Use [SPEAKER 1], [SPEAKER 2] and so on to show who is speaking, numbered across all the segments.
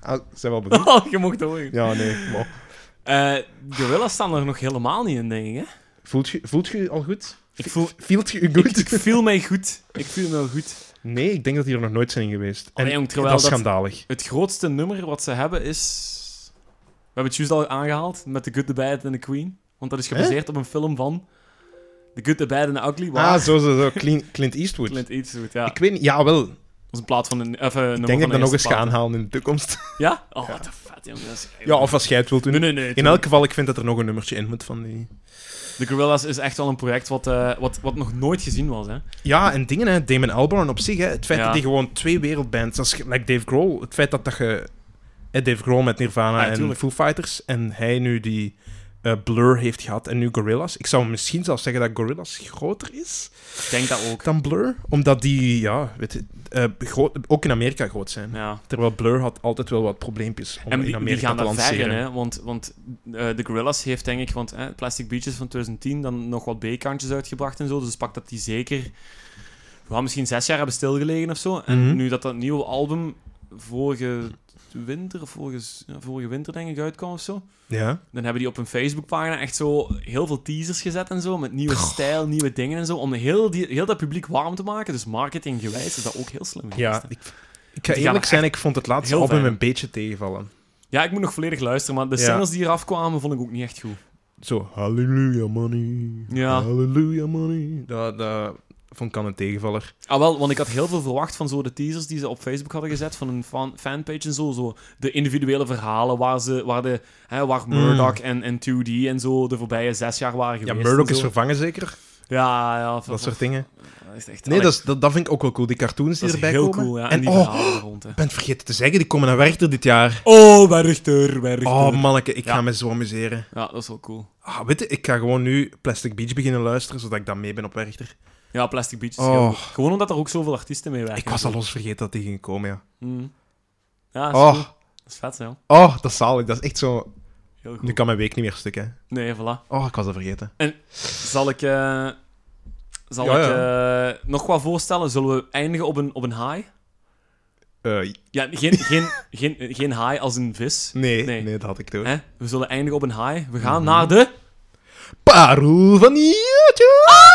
[SPEAKER 1] Ah, zijn we al benieuwd?
[SPEAKER 2] Oh, je mocht horen.
[SPEAKER 1] Ja, nee. Maar.
[SPEAKER 2] Eh gorillas staan er nog helemaal niet in, denk ik. Hè?
[SPEAKER 1] Voelt je, voelt je je al goed?
[SPEAKER 2] Ik voel-
[SPEAKER 1] Voelt je je goed?
[SPEAKER 2] Ik voel mij goed. Ik voel me goed.
[SPEAKER 1] Nee, ik denk dat die er nog nooit zijn geweest.
[SPEAKER 2] Oh, nee, jong, terwijl
[SPEAKER 1] dat is
[SPEAKER 2] dat-
[SPEAKER 1] schandalig.
[SPEAKER 2] Het grootste nummer wat ze hebben is... We hebben het juist al aangehaald met The Good, The Bad and The Queen. Want dat is gebaseerd op een film van The Good, The Bad and The Ugly. Waar
[SPEAKER 1] Ah, zo, zo, zo. Clint, Clint Eastwood.
[SPEAKER 2] Clint Eastwood, ja.
[SPEAKER 1] Ik weet niet, jawel.
[SPEAKER 2] Dat is een plaat van een... Of, een
[SPEAKER 1] Ik denk
[SPEAKER 2] nummer
[SPEAKER 1] dat
[SPEAKER 2] van
[SPEAKER 1] ik dat nog
[SPEAKER 2] de
[SPEAKER 1] eens
[SPEAKER 2] eerste
[SPEAKER 1] ga
[SPEAKER 2] plaat.
[SPEAKER 1] aanhalen in de toekomst.
[SPEAKER 2] Ja? Oh, wat een vet, jongen. Dat is-
[SPEAKER 1] Ja, of als jij het wilt doen.
[SPEAKER 2] Nee, nee, nee.
[SPEAKER 1] In elk geval, ik vind dat er nog een nummertje in moet van die...
[SPEAKER 2] De Gorillas is echt wel een project wat, eh, wat, wat nog nooit gezien was, hè.
[SPEAKER 1] Ja, en dingen, hè. Damon Albarn op zich, hè. Het feit
[SPEAKER 2] Ja.
[SPEAKER 1] dat die gewoon twee wereldbands... Dat is gelijk Dave Grohl. Het feit dat, dat je... hè, Dave Grohl met Nirvana
[SPEAKER 2] Ah,
[SPEAKER 1] en
[SPEAKER 2] tuurlijk.
[SPEAKER 1] Foo Fighters. En hij nu die eh, Blur heeft gehad en nu Gorillaz. Ik zou misschien zelfs zeggen dat Gorillaz groter is
[SPEAKER 2] Ik denk dat ook.
[SPEAKER 1] dan Blur. Omdat die, ja, weet je, eh, groot- ook in Amerika groot zijn.
[SPEAKER 2] Ja.
[SPEAKER 1] Terwijl Blur had altijd wel wat probleempjes om
[SPEAKER 2] En
[SPEAKER 1] in
[SPEAKER 2] die, die
[SPEAKER 1] Amerika
[SPEAKER 2] gaan
[SPEAKER 1] te
[SPEAKER 2] dat ver
[SPEAKER 1] lanceren.
[SPEAKER 2] in, hè. Want, want eh, de Gorillas heeft, denk ik, want eh, Plastic Beaches van 2010 dan nog wat B-kantjes uitgebracht en zo. Dus pak dat die zeker... wel misschien zes jaar hebben stilgelegen of zo. En
[SPEAKER 1] Mhm.
[SPEAKER 2] nu dat dat nieuwe album vorige winter, of vorige, z- ja, vorige winter, denk ik, uitkwam of zo.
[SPEAKER 1] Ja.
[SPEAKER 2] Dan hebben die op hun Facebookpagina echt zo heel veel teasers gezet en zo. Met nieuwe stijl, nieuwe dingen en zo. Om heel, die, heel dat publiek warm te maken. Dus marketinggewijs is dat ook heel slim.
[SPEAKER 1] Ja,
[SPEAKER 2] geweest, hè.
[SPEAKER 1] ik, ik ga
[SPEAKER 2] gaan
[SPEAKER 1] eerlijk
[SPEAKER 2] echt
[SPEAKER 1] zijn, ik vond het laatste
[SPEAKER 2] heel
[SPEAKER 1] album
[SPEAKER 2] ver.
[SPEAKER 1] een beetje tegenvallen.
[SPEAKER 2] ja, ik moet nog volledig luisteren. Maar de
[SPEAKER 1] Ja.
[SPEAKER 2] singles die eraf kwamen, vond ik ook niet echt goed.
[SPEAKER 1] Zo, hallelujah money,
[SPEAKER 2] Ja.
[SPEAKER 1] hallelujah money. Dat, dat vond ik aan een tegenvaller.
[SPEAKER 2] Ah, wel, want ik had heel veel verwacht van zo de teasers die ze op Facebook hadden gezet. Van hun fan- fanpage en zo. zo de individuele verhalen waar, ze, waar, de, hè, waar Murdoch en, en 2D en zo de voorbije zes jaar waren
[SPEAKER 1] Hmm. Ja,
[SPEAKER 2] geweest.
[SPEAKER 1] Murdoch
[SPEAKER 2] en
[SPEAKER 1] is
[SPEAKER 2] zo.
[SPEAKER 1] vervangen zeker,
[SPEAKER 2] Ja, ja.
[SPEAKER 1] dat soort dingen.
[SPEAKER 2] is echt...
[SPEAKER 1] Nee, dat, is, dat, dat vind ik ook wel cool, die cartoons die
[SPEAKER 2] dat is
[SPEAKER 1] erbij
[SPEAKER 2] heel
[SPEAKER 1] komen.
[SPEAKER 2] cool, ja. En,
[SPEAKER 1] En,
[SPEAKER 2] die
[SPEAKER 1] oh,
[SPEAKER 2] verhalen er rond, hè.
[SPEAKER 1] ik ben het vergeten te zeggen, die komen naar Werchter dit jaar.
[SPEAKER 2] Oh, Werchter, Werchter.
[SPEAKER 1] Oh manneke, ik
[SPEAKER 2] Ja.
[SPEAKER 1] ga me zo amuseren.
[SPEAKER 2] Ja, dat is wel cool.
[SPEAKER 1] Ah, weet je, ik ga gewoon nu Plastic Beach beginnen luisteren, zodat ik dan mee ben op Werchter.
[SPEAKER 2] Ja, Plastic Beach is
[SPEAKER 1] Oh.
[SPEAKER 2] heel goed. Gewoon omdat er ook zoveel artiesten mee werken.
[SPEAKER 1] Ik was al los vergeten dat die ging komen, ja.
[SPEAKER 2] Mhm. Ja, dat is,
[SPEAKER 1] Oh,
[SPEAKER 2] cool. dat is vet, hè.
[SPEAKER 1] oh, dat is zalig. Dat is echt zo...
[SPEAKER 2] Heel goed.
[SPEAKER 1] Nu kan mijn week niet meer stuk, hè.
[SPEAKER 2] Nee, voilà.
[SPEAKER 1] Oh, ik was dat vergeten.
[SPEAKER 2] Zal ik, eh, zal
[SPEAKER 1] Ja,
[SPEAKER 2] ik eh, nog wat voorstellen? Zullen we eindigen op een, op een haai?
[SPEAKER 1] Eh,
[SPEAKER 2] Ja, geen, geen, geen, eh, geen haai als een vis.
[SPEAKER 1] nee, nee, Mhm.
[SPEAKER 2] Nee.
[SPEAKER 1] dat had ik door.
[SPEAKER 2] Hè? We zullen eindigen op een haai. We gaan naar de...
[SPEAKER 1] Parel van YouTube!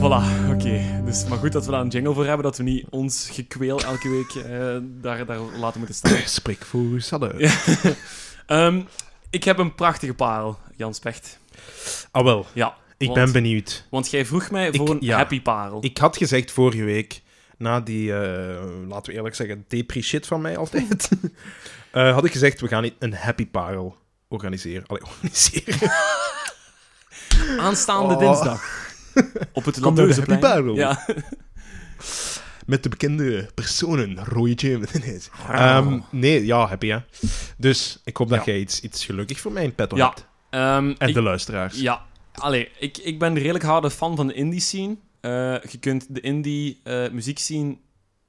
[SPEAKER 2] Voilà, oké. Dus, maar goed dat we daar een jingle voor hebben, dat we niet ons gekweel elke week eh, daar, daar laten moeten staan.
[SPEAKER 1] Spreek voor uzelf.
[SPEAKER 2] Ja. Ehm, ik heb een prachtige parel, Jan Specht.
[SPEAKER 1] Ah wel,
[SPEAKER 2] Ja.
[SPEAKER 1] ik
[SPEAKER 2] want,
[SPEAKER 1] ben benieuwd.
[SPEAKER 2] Want jij vroeg mij voor
[SPEAKER 1] Ik-
[SPEAKER 2] een
[SPEAKER 1] ja.
[SPEAKER 2] happy parel.
[SPEAKER 1] Ik had gezegd vorige week, na die, eh, laten we eerlijk zeggen, depri shit van mij altijd, eh, had ik gezegd, we gaan i- een happy parel organiseren. Allee, organiseren.
[SPEAKER 2] Aanstaande
[SPEAKER 1] Oh.
[SPEAKER 2] dinsdag. Op het
[SPEAKER 1] Komt er een
[SPEAKER 2] Landeuzeplein.
[SPEAKER 1] happy parel?
[SPEAKER 2] Ja.
[SPEAKER 1] Met de bekende personen, Roy James. Nee,
[SPEAKER 2] Wow.
[SPEAKER 1] Ehm, nee, ja, happy hè. Dus ik hoop dat
[SPEAKER 2] Ah. Ja.
[SPEAKER 1] jij iets, iets gelukkig voor mij in petto
[SPEAKER 2] Ja.
[SPEAKER 1] hebt.
[SPEAKER 2] Ehm,
[SPEAKER 1] En
[SPEAKER 2] ik-
[SPEAKER 1] de luisteraars.
[SPEAKER 2] Ja, allee, ik, ik ben een redelijk harde fan van de indie scene. Eh, je kunt de indie eh muziek zien.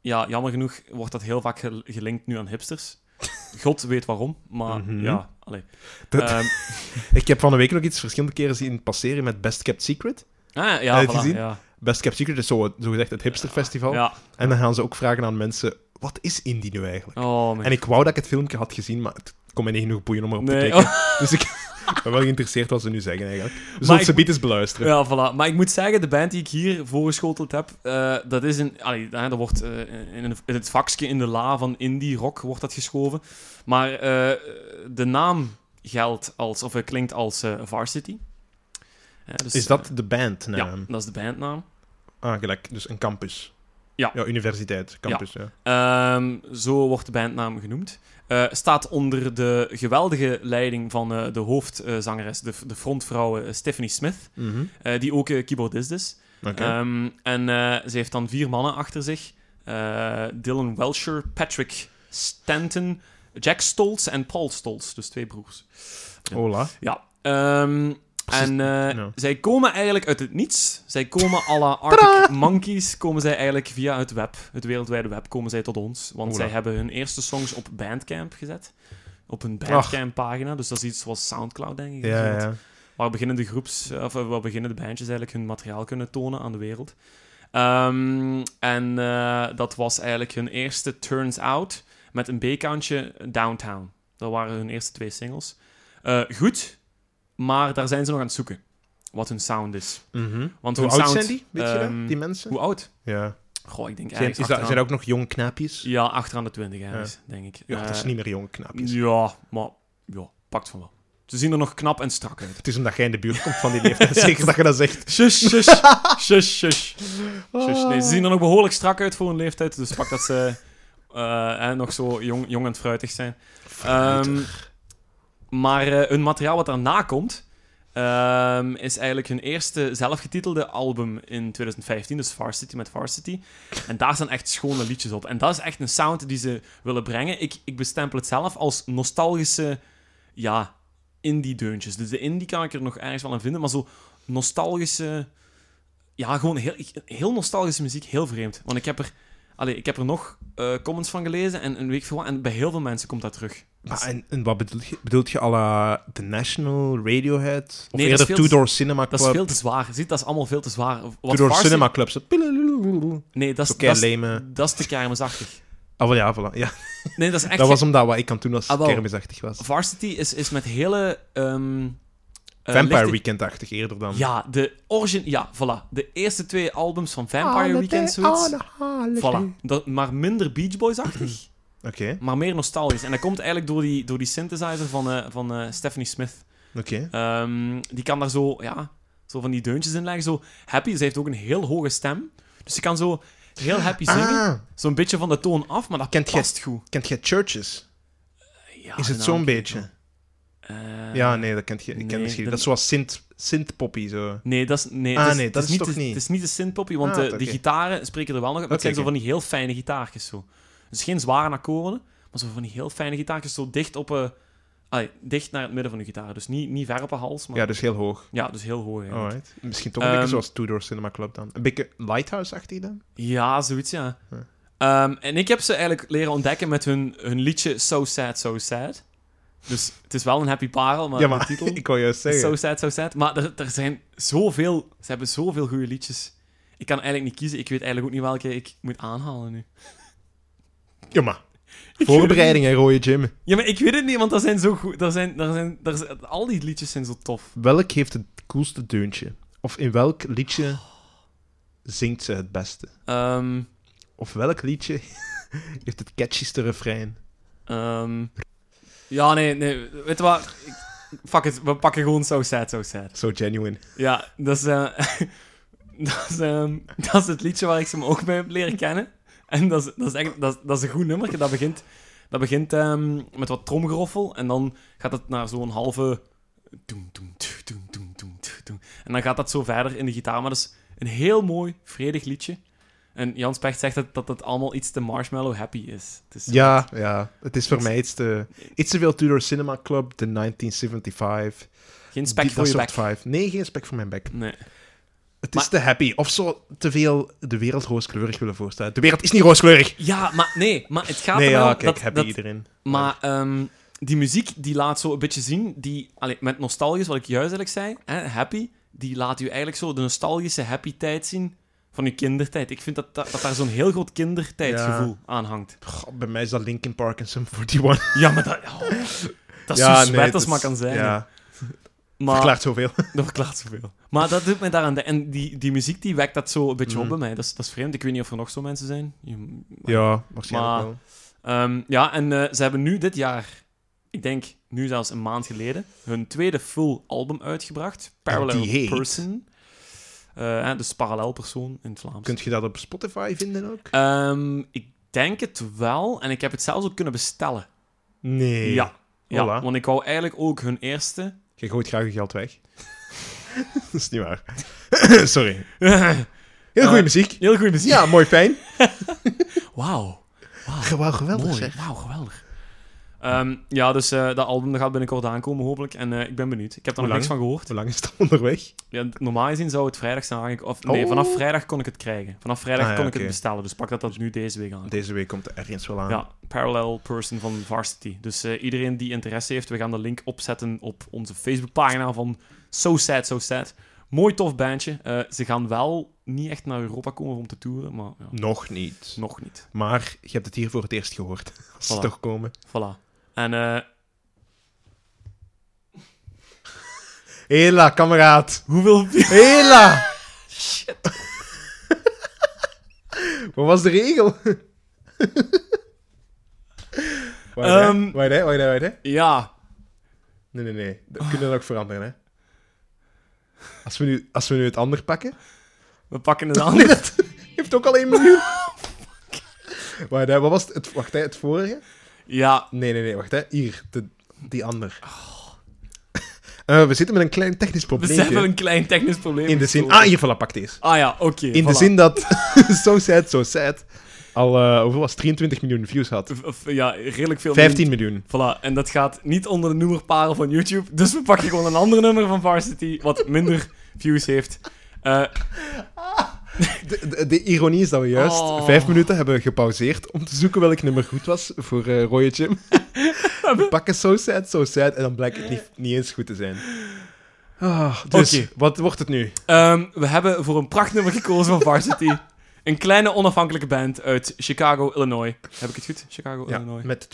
[SPEAKER 2] Ja, jammer genoeg wordt dat heel vaak gel- gelinkt nu aan hipsters. God weet waarom, maar
[SPEAKER 1] Mhm.
[SPEAKER 2] ja, allee.
[SPEAKER 1] Dat-
[SPEAKER 2] Ehm,
[SPEAKER 1] Ik heb van de week nog iets verschillende keren zien passeren met Best Kept Secret.
[SPEAKER 2] ah,
[SPEAKER 1] Heb
[SPEAKER 2] ja,
[SPEAKER 1] je het
[SPEAKER 2] voilà,
[SPEAKER 1] gezien? Oh.
[SPEAKER 2] ja,
[SPEAKER 1] Best Kept Secret is zo, zo gezegd het hipsterfestival.
[SPEAKER 2] ja.
[SPEAKER 1] En dan gaan ze ook vragen aan mensen, wat is indie nu eigenlijk?
[SPEAKER 2] Oh, mijn
[SPEAKER 1] En ik wou dat ik het filmpje had gezien, maar het kon mij niet genoeg boeien om erop te
[SPEAKER 2] Nee.
[SPEAKER 1] kijken. Dus ik ben wel geïnteresseerd wat ze nu zeggen eigenlijk. Dus
[SPEAKER 2] Maar
[SPEAKER 1] als ze
[SPEAKER 2] ik-
[SPEAKER 1] biedt eens beluisteren.
[SPEAKER 2] Ja, voilà. Maar ik moet zeggen, de band die ik hier voorgeschoteld heb, eh, dat is een... Allee, hè, dat wordt eh, in, een- in het vakje in de la van indie rock wordt dat geschoven. Maar eh, de naam geldt als, of eh, klinkt als eh, Varsity. Eh, dus,
[SPEAKER 1] Is dat de band?
[SPEAKER 2] eh, ja,
[SPEAKER 1] naam?
[SPEAKER 2] dat is de bandnaam.
[SPEAKER 1] Ah, gelijk. Dus een campus.
[SPEAKER 2] Ja.
[SPEAKER 1] Ja, universiteit, campus, ja.
[SPEAKER 2] Ehm, zo wordt de bandnaam genoemd. Eh, staat onder de geweldige leiding van eh, de hoofdzangeres, de, de frontvrouw eh, Stephanie Smith,
[SPEAKER 1] Mhm.
[SPEAKER 2] eh, die ook eh, keyboardist is.
[SPEAKER 1] Oké.
[SPEAKER 2] Ehm, en eh, ze heeft dan vier mannen achter zich: Eh, Dylan Welcher, Patrick Stanton, Jack Stoltz en Paul Stoltz. Dus twee broers. ja.
[SPEAKER 1] Hola.
[SPEAKER 2] Ja. ehm,
[SPEAKER 1] Precies. Nou.
[SPEAKER 2] en eh,
[SPEAKER 1] Ja.
[SPEAKER 2] zij komen eigenlijk uit het niets. Zij komen à la Arctic Monkeys, komen zij eigenlijk via het web, het wereldwijde web, komen zij tot ons. Want
[SPEAKER 1] Ola.
[SPEAKER 2] zij hebben hun eerste songs op Bandcamp gezet. Op hun Bandcamp-pagina. Dus dat is iets zoals Soundcloud, denk ik.
[SPEAKER 1] Ja, ja.
[SPEAKER 2] Waar beginnen de groeps, of eh, waar beginnen de bandjes eigenlijk hun materiaal kunnen tonen aan de wereld. Ehm, en eh, dat was eigenlijk hun eerste Turns Out met een B-kantje Downtown. Dat waren hun eerste twee singles. Eh, goed, maar daar zijn ze nog aan het zoeken. Wat hun sound is.
[SPEAKER 1] Mhm.
[SPEAKER 2] Want
[SPEAKER 1] Hoe
[SPEAKER 2] hun
[SPEAKER 1] oud
[SPEAKER 2] sound,
[SPEAKER 1] zijn die? Weet je
[SPEAKER 2] ehm,
[SPEAKER 1] dat? Die mensen?
[SPEAKER 2] Hoe oud?
[SPEAKER 1] Ja.
[SPEAKER 2] Goh, ik denk
[SPEAKER 1] Zijn, is
[SPEAKER 2] eigenlijk
[SPEAKER 1] dat,
[SPEAKER 2] achteraan,
[SPEAKER 1] zijn dat ook nog jong knaapjes? Ja,
[SPEAKER 2] Ja, achteraan de 20 ergens, denk ik.
[SPEAKER 1] dat is
[SPEAKER 2] Eh,
[SPEAKER 1] niet meer jonge knaapjes.
[SPEAKER 2] Ja, maar ja, pakt van wel. Ze zien er nog knap en strak uit.
[SPEAKER 1] Het is omdat jij in de buurt komt van die leeftijd. Zeker dat je dat zegt.
[SPEAKER 2] Shush, shush, shush, shush. Shush, nee, ze zien er nog behoorlijk strak uit voor hun leeftijd. Dus pak dat ze eh, eh, nog zo jong, jong en fruitig zijn. Ehm, maar eh, hun materiaal wat daarna komt, ehm, is eigenlijk hun eerste zelfgetitelde album in 2015. Dus Varsity met Varsity. En daar staan echt schone liedjes op. En dat is echt een sound die ze willen brengen. Ik, ik bestempel het zelf als nostalgische, ja, indie-deuntjes. Dus de indie kan ik er nog ergens wel aan vinden, maar zo nostalgische... Ja, gewoon heel, heel nostalgische muziek, heel vreemd. Want ik heb er, allee, ik heb er nog eh, comments van gelezen en een week voor wat. En bij heel veel mensen komt dat terug.
[SPEAKER 1] Maar en, en wat bedoelt je? Bedoelt je à la The National, Radiohead? Of
[SPEAKER 2] Nee, dat
[SPEAKER 1] eerder
[SPEAKER 2] is veel
[SPEAKER 1] Two
[SPEAKER 2] te-
[SPEAKER 1] Door Cinema
[SPEAKER 2] Dat
[SPEAKER 1] Club?
[SPEAKER 2] is veel te zwaar. Ziet, dat is allemaal veel te zwaar. Wat
[SPEAKER 1] Two Door
[SPEAKER 2] Varsity-
[SPEAKER 1] Cinema Club. Zo... Oké,
[SPEAKER 2] Nee, dat is, dat, is,
[SPEAKER 1] lame.
[SPEAKER 2] dat is te kermisachtig.
[SPEAKER 1] Ah, wel, ja, voilà. ja.
[SPEAKER 2] Nee, dat is echt...
[SPEAKER 1] Dat was omdat wat ik aan toen was
[SPEAKER 2] Ah, wel.
[SPEAKER 1] kermisachtig was.
[SPEAKER 2] Varsity is, is met hele... ehm, eh,
[SPEAKER 1] Vampire
[SPEAKER 2] lichte-
[SPEAKER 1] Weekend-achtig eerder dan.
[SPEAKER 2] Ja, de origin... Ja, voilà. De eerste twee albums van Vampire Weekend, zoiets. Voilà. Dat, maar minder Beach Boys-achtig,
[SPEAKER 1] Oké, oké.
[SPEAKER 2] maar meer nostalgisch. En dat komt eigenlijk door die, door die synthesizer van, eh, van eh, Stephanie Smith. Ehm, die kan daar zo, ja, zo van die deuntjes in leggen. Zo happy. Ze heeft ook een heel hoge stem. Dus ze kan zo heel happy zingen.
[SPEAKER 1] Ah,
[SPEAKER 2] Zo'n beetje van de toon af, maar dat
[SPEAKER 1] Kent jij-
[SPEAKER 2] past goed.
[SPEAKER 1] kent jij Churches?
[SPEAKER 2] Ja,
[SPEAKER 1] Is
[SPEAKER 2] de
[SPEAKER 1] het
[SPEAKER 2] naam
[SPEAKER 1] zo'n
[SPEAKER 2] ken ik
[SPEAKER 1] beetje?
[SPEAKER 2] wel. Eh,
[SPEAKER 1] Ja, nee, dat kent je. Ik
[SPEAKER 2] nou, nee,
[SPEAKER 1] ken misschien.
[SPEAKER 2] de-
[SPEAKER 1] Dat is zoals synth, synth-poppy, zo.
[SPEAKER 2] Nee, dat is, nee,
[SPEAKER 1] Ah,
[SPEAKER 2] het is,
[SPEAKER 1] nee,
[SPEAKER 2] het
[SPEAKER 1] dat
[SPEAKER 2] is
[SPEAKER 1] is
[SPEAKER 2] niet
[SPEAKER 1] toch
[SPEAKER 2] de,
[SPEAKER 1] niet?
[SPEAKER 2] Het is niet de synthpoppy, want
[SPEAKER 1] Ah,
[SPEAKER 2] de,
[SPEAKER 1] oké.
[SPEAKER 2] de gitaren spreken er wel nog op. maar
[SPEAKER 1] Oké,
[SPEAKER 2] het zijn zo
[SPEAKER 1] oké.
[SPEAKER 2] van die heel fijne gitaartjes zo. Dus geen zware akkoorden, maar zo van die heel fijne gitaartjes zo dicht op... eh allee, dicht naar het midden van de gitaar. Dus niet, niet ver op de hals, maar...
[SPEAKER 1] Ja,
[SPEAKER 2] Ja,
[SPEAKER 1] dus heel hoog.
[SPEAKER 2] dus heel hoog eigenlijk.
[SPEAKER 1] Alright. Misschien toch een
[SPEAKER 2] Ehm,
[SPEAKER 1] beetje zoals Two Door Cinema Club dan. Een beetje Lighthouse-achtig dan?
[SPEAKER 2] Ja, zoiets, ja.
[SPEAKER 1] Huh.
[SPEAKER 2] Ehm, en ik heb ze eigenlijk leren ontdekken met hun, hun liedje So Sad, So Sad. Dus het is wel een happy parel, maar,
[SPEAKER 1] ja,
[SPEAKER 2] de
[SPEAKER 1] maar
[SPEAKER 2] titel
[SPEAKER 1] ik wou juist
[SPEAKER 2] is
[SPEAKER 1] zeggen.
[SPEAKER 2] So Sad, So Sad. Maar er, er zijn zoveel... Ze hebben zoveel goede liedjes. Ik kan eigenlijk niet kiezen. Ik weet eigenlijk ook niet welke ik moet aanhalen nu.
[SPEAKER 1] Ja, maar.
[SPEAKER 2] Ik
[SPEAKER 1] Voorbereiding, en rode Jim.
[SPEAKER 2] Ja, maar ik weet het niet, want dat zijn zo goed... Dat zijn, dat zijn, dat zijn- al die liedjes zijn zo tof.
[SPEAKER 1] Welk heeft het coolste deuntje? Of in welk liedje zingt ze het beste?
[SPEAKER 2] Ehm,
[SPEAKER 1] Of welk liedje heeft het catchieste refrein?
[SPEAKER 2] ehm, ja, nee, nee. Weet je wat? Ik- fuck it, we pakken gewoon So Sad, So Sad.
[SPEAKER 1] So genuine.
[SPEAKER 2] Ja, dat is, eh, dat, is, ehm, dat is het liedje waar ik ze me ook bij heb leren kennen. En dat is, dat is, echt, dat is, dat is een goed nummer. Dat begint, dat begint ehm, met wat tromgeroffel en dan gaat het naar zo'n halve... Doem, doem, tjoe, doem, doem, doem, tjoe, doem. En dan gaat dat zo verder in de gitaar. Maar dat is een heel mooi, vredig liedje. En Jans Pecht zegt dat dat, dat allemaal iets te Marshmallow Happy is. Het is
[SPEAKER 1] Ja, ja. Het is voor mij iets te... Iets te veel Tudor Cinema Club, de 1975.
[SPEAKER 2] geen spek
[SPEAKER 1] Die-
[SPEAKER 2] voor
[SPEAKER 1] dat
[SPEAKER 2] je
[SPEAKER 1] soort
[SPEAKER 2] bek.
[SPEAKER 1] vibe. Nee, geen spek voor mijn bek.
[SPEAKER 2] Nee.
[SPEAKER 1] Het
[SPEAKER 2] Maar-
[SPEAKER 1] is te happy. Of zo te veel de wereld rooskleurig willen voorstellen. De wereld is niet rooskleurig.
[SPEAKER 2] Ja, maar nee, maar het gaat
[SPEAKER 1] Nee,
[SPEAKER 2] er wel
[SPEAKER 1] ja,
[SPEAKER 2] om
[SPEAKER 1] kijk,
[SPEAKER 2] dat,
[SPEAKER 1] happy
[SPEAKER 2] dat,
[SPEAKER 1] iedereen.
[SPEAKER 2] Maar ehm, die muziek die laat zo een beetje zien, die, allee, met nostalgisch, wat ik juist eigenlijk zei, hè, happy, die laat u eigenlijk zo de nostalgische happy tijd zien van uw kindertijd. Ik vind dat, dat, dat daar zo'n heel groot kindertijdgevoel aan hangt.
[SPEAKER 1] God, Oh, bij mij is dat Linkin Park en Sum 41.
[SPEAKER 2] Ja, maar dat, oh, dat is
[SPEAKER 1] Ja,
[SPEAKER 2] zo
[SPEAKER 1] nee,
[SPEAKER 2] zwet
[SPEAKER 1] het
[SPEAKER 2] als
[SPEAKER 1] is-
[SPEAKER 2] maar kan zijn. hè.
[SPEAKER 1] Ja,
[SPEAKER 2] maar
[SPEAKER 1] verklaart zoveel.
[SPEAKER 2] dat verklaart zoveel. Maar dat doet mij daaraan denken. En die, die muziek die wekt dat zo een beetje op
[SPEAKER 1] Mhm.
[SPEAKER 2] bij mij. Dat is, dat is vreemd. Ik weet niet of er nog zo mensen zijn. Je-
[SPEAKER 1] Ja, waarschijnlijk
[SPEAKER 2] Maar-
[SPEAKER 1] wel.
[SPEAKER 2] Ehm, ja, en eh, ze hebben nu dit jaar, ik denk nu zelfs een maand geleden, hun tweede full album uitgebracht. Parallel
[SPEAKER 1] Die heet-
[SPEAKER 2] Person. Eh, hè, dus parallel persoon in het Vlaams.
[SPEAKER 1] Kunt je dat op Spotify vinden ook?
[SPEAKER 2] Ehm, ik denk het wel. En ik heb het zelfs ook kunnen bestellen.
[SPEAKER 1] Nee.
[SPEAKER 2] Ja. ja.
[SPEAKER 1] Voilà.
[SPEAKER 2] Want ik wou eigenlijk ook hun eerste...
[SPEAKER 1] Je gooit graag je geld weg. dat is niet waar. Sorry. Heel goede
[SPEAKER 2] Eh,
[SPEAKER 1] muziek.
[SPEAKER 2] Heel goede muziek.
[SPEAKER 1] Ja, mooi fijn.
[SPEAKER 2] Wauw.
[SPEAKER 1] Geweldig, geweldig
[SPEAKER 2] Mooi. Wauw, geweldig. Ehm, ja, dus eh, dat album dat gaat binnenkort aankomen, hopelijk. En eh, ik ben benieuwd. Ik heb er
[SPEAKER 1] Hoe
[SPEAKER 2] nog niks
[SPEAKER 1] lang?
[SPEAKER 2] van gehoord.
[SPEAKER 1] Hoe lang is het onderweg?
[SPEAKER 2] Ja, normaal gezien zou het vrijdag zijn aangek- Of nee,
[SPEAKER 1] Oh.
[SPEAKER 2] vanaf vrijdag kon ik het krijgen. Vanaf vrijdag
[SPEAKER 1] Ah, ja,
[SPEAKER 2] kon ik
[SPEAKER 1] oké.
[SPEAKER 2] het bestellen. Dus pak dat dat nu deze week aan.
[SPEAKER 1] Deze week komt er ergens wel aan.
[SPEAKER 2] Ja, Parallel Person van Varsity. Dus eh, iedereen die interesse heeft, we gaan de link opzetten op onze Facebookpagina van So Sad, So Sad. Mooi tof bandje. Eh, ze gaan wel niet echt naar Europa komen om te toeren, maar ja,
[SPEAKER 1] Nog niet.
[SPEAKER 2] nog niet.
[SPEAKER 1] Maar je hebt het hier voor het eerst gehoord. Als ze
[SPEAKER 2] Voilà.
[SPEAKER 1] toch komen.
[SPEAKER 2] Voilà. En eh,
[SPEAKER 1] Hela, kameraad.
[SPEAKER 2] hoeveel...
[SPEAKER 1] Hela. Shit. Wat was de regel? Wacht, hè.
[SPEAKER 2] Ehm.
[SPEAKER 1] wacht, hè, wacht, hè, wacht, hè.
[SPEAKER 2] ja,
[SPEAKER 1] Nee, nee, nee. Dat
[SPEAKER 2] Oh.
[SPEAKER 1] kunnen we nog veranderen, hè. Als we, nu, als we nu het ander pakken...
[SPEAKER 2] we pakken het
[SPEAKER 1] Nee,
[SPEAKER 2] aan.
[SPEAKER 1] dat heeft ook al één miljoen.
[SPEAKER 2] Oh,
[SPEAKER 1] Wacht, hè, wat was het, het- wacht, hè, het vorige?
[SPEAKER 2] Ja,
[SPEAKER 1] Nee, nee, nee, wacht, hè. Hier, de, die ander. Eh, we zitten met een klein technisch
[SPEAKER 2] Oh. we
[SPEAKER 1] probleem.
[SPEAKER 2] hebben een klein technisch probleem.
[SPEAKER 1] In de zin... Ah, hier, voilà, pak deze.
[SPEAKER 2] Ah ja, oké.
[SPEAKER 1] In de
[SPEAKER 2] voilà.
[SPEAKER 1] zin dat So Sad, So Sad al, eh, hoeveel was het? 23 miljoen views had.
[SPEAKER 2] Of- of, ja, redelijk veel...
[SPEAKER 1] 15 miljoen.
[SPEAKER 2] Voilà, en dat gaat niet onder de noemerparel van YouTube. Dus we pakken gewoon een ander nummer van Varsity, wat minder views heeft. Eh,
[SPEAKER 1] De, de, de ironie is dat we juist
[SPEAKER 2] Oh.
[SPEAKER 1] vijf minuten hebben gepauzeerd om te zoeken welk nummer goed was voor eh Roye Jim. we pakken So Sad, So Sad en dan blijkt het niet, niet eens goed te zijn. Ah, dus,
[SPEAKER 2] Oké.
[SPEAKER 1] wat wordt het nu?
[SPEAKER 2] ehm, we hebben voor een prachtnummer gekozen van Varsity. Een kleine onafhankelijke band uit Chicago, Illinois. Heb ik het goed? Chicago,
[SPEAKER 1] Ja,
[SPEAKER 2] Illinois.
[SPEAKER 1] met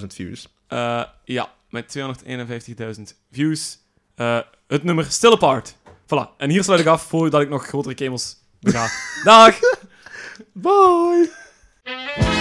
[SPEAKER 1] 251.000 views.
[SPEAKER 2] Eh, ja, met 251.000 views. Eh, het nummer Still Apart. Voilà, en hier sluit ik af voordat ik nog grotere kemels bega. Dag!
[SPEAKER 1] Bye!
[SPEAKER 3] Thank you.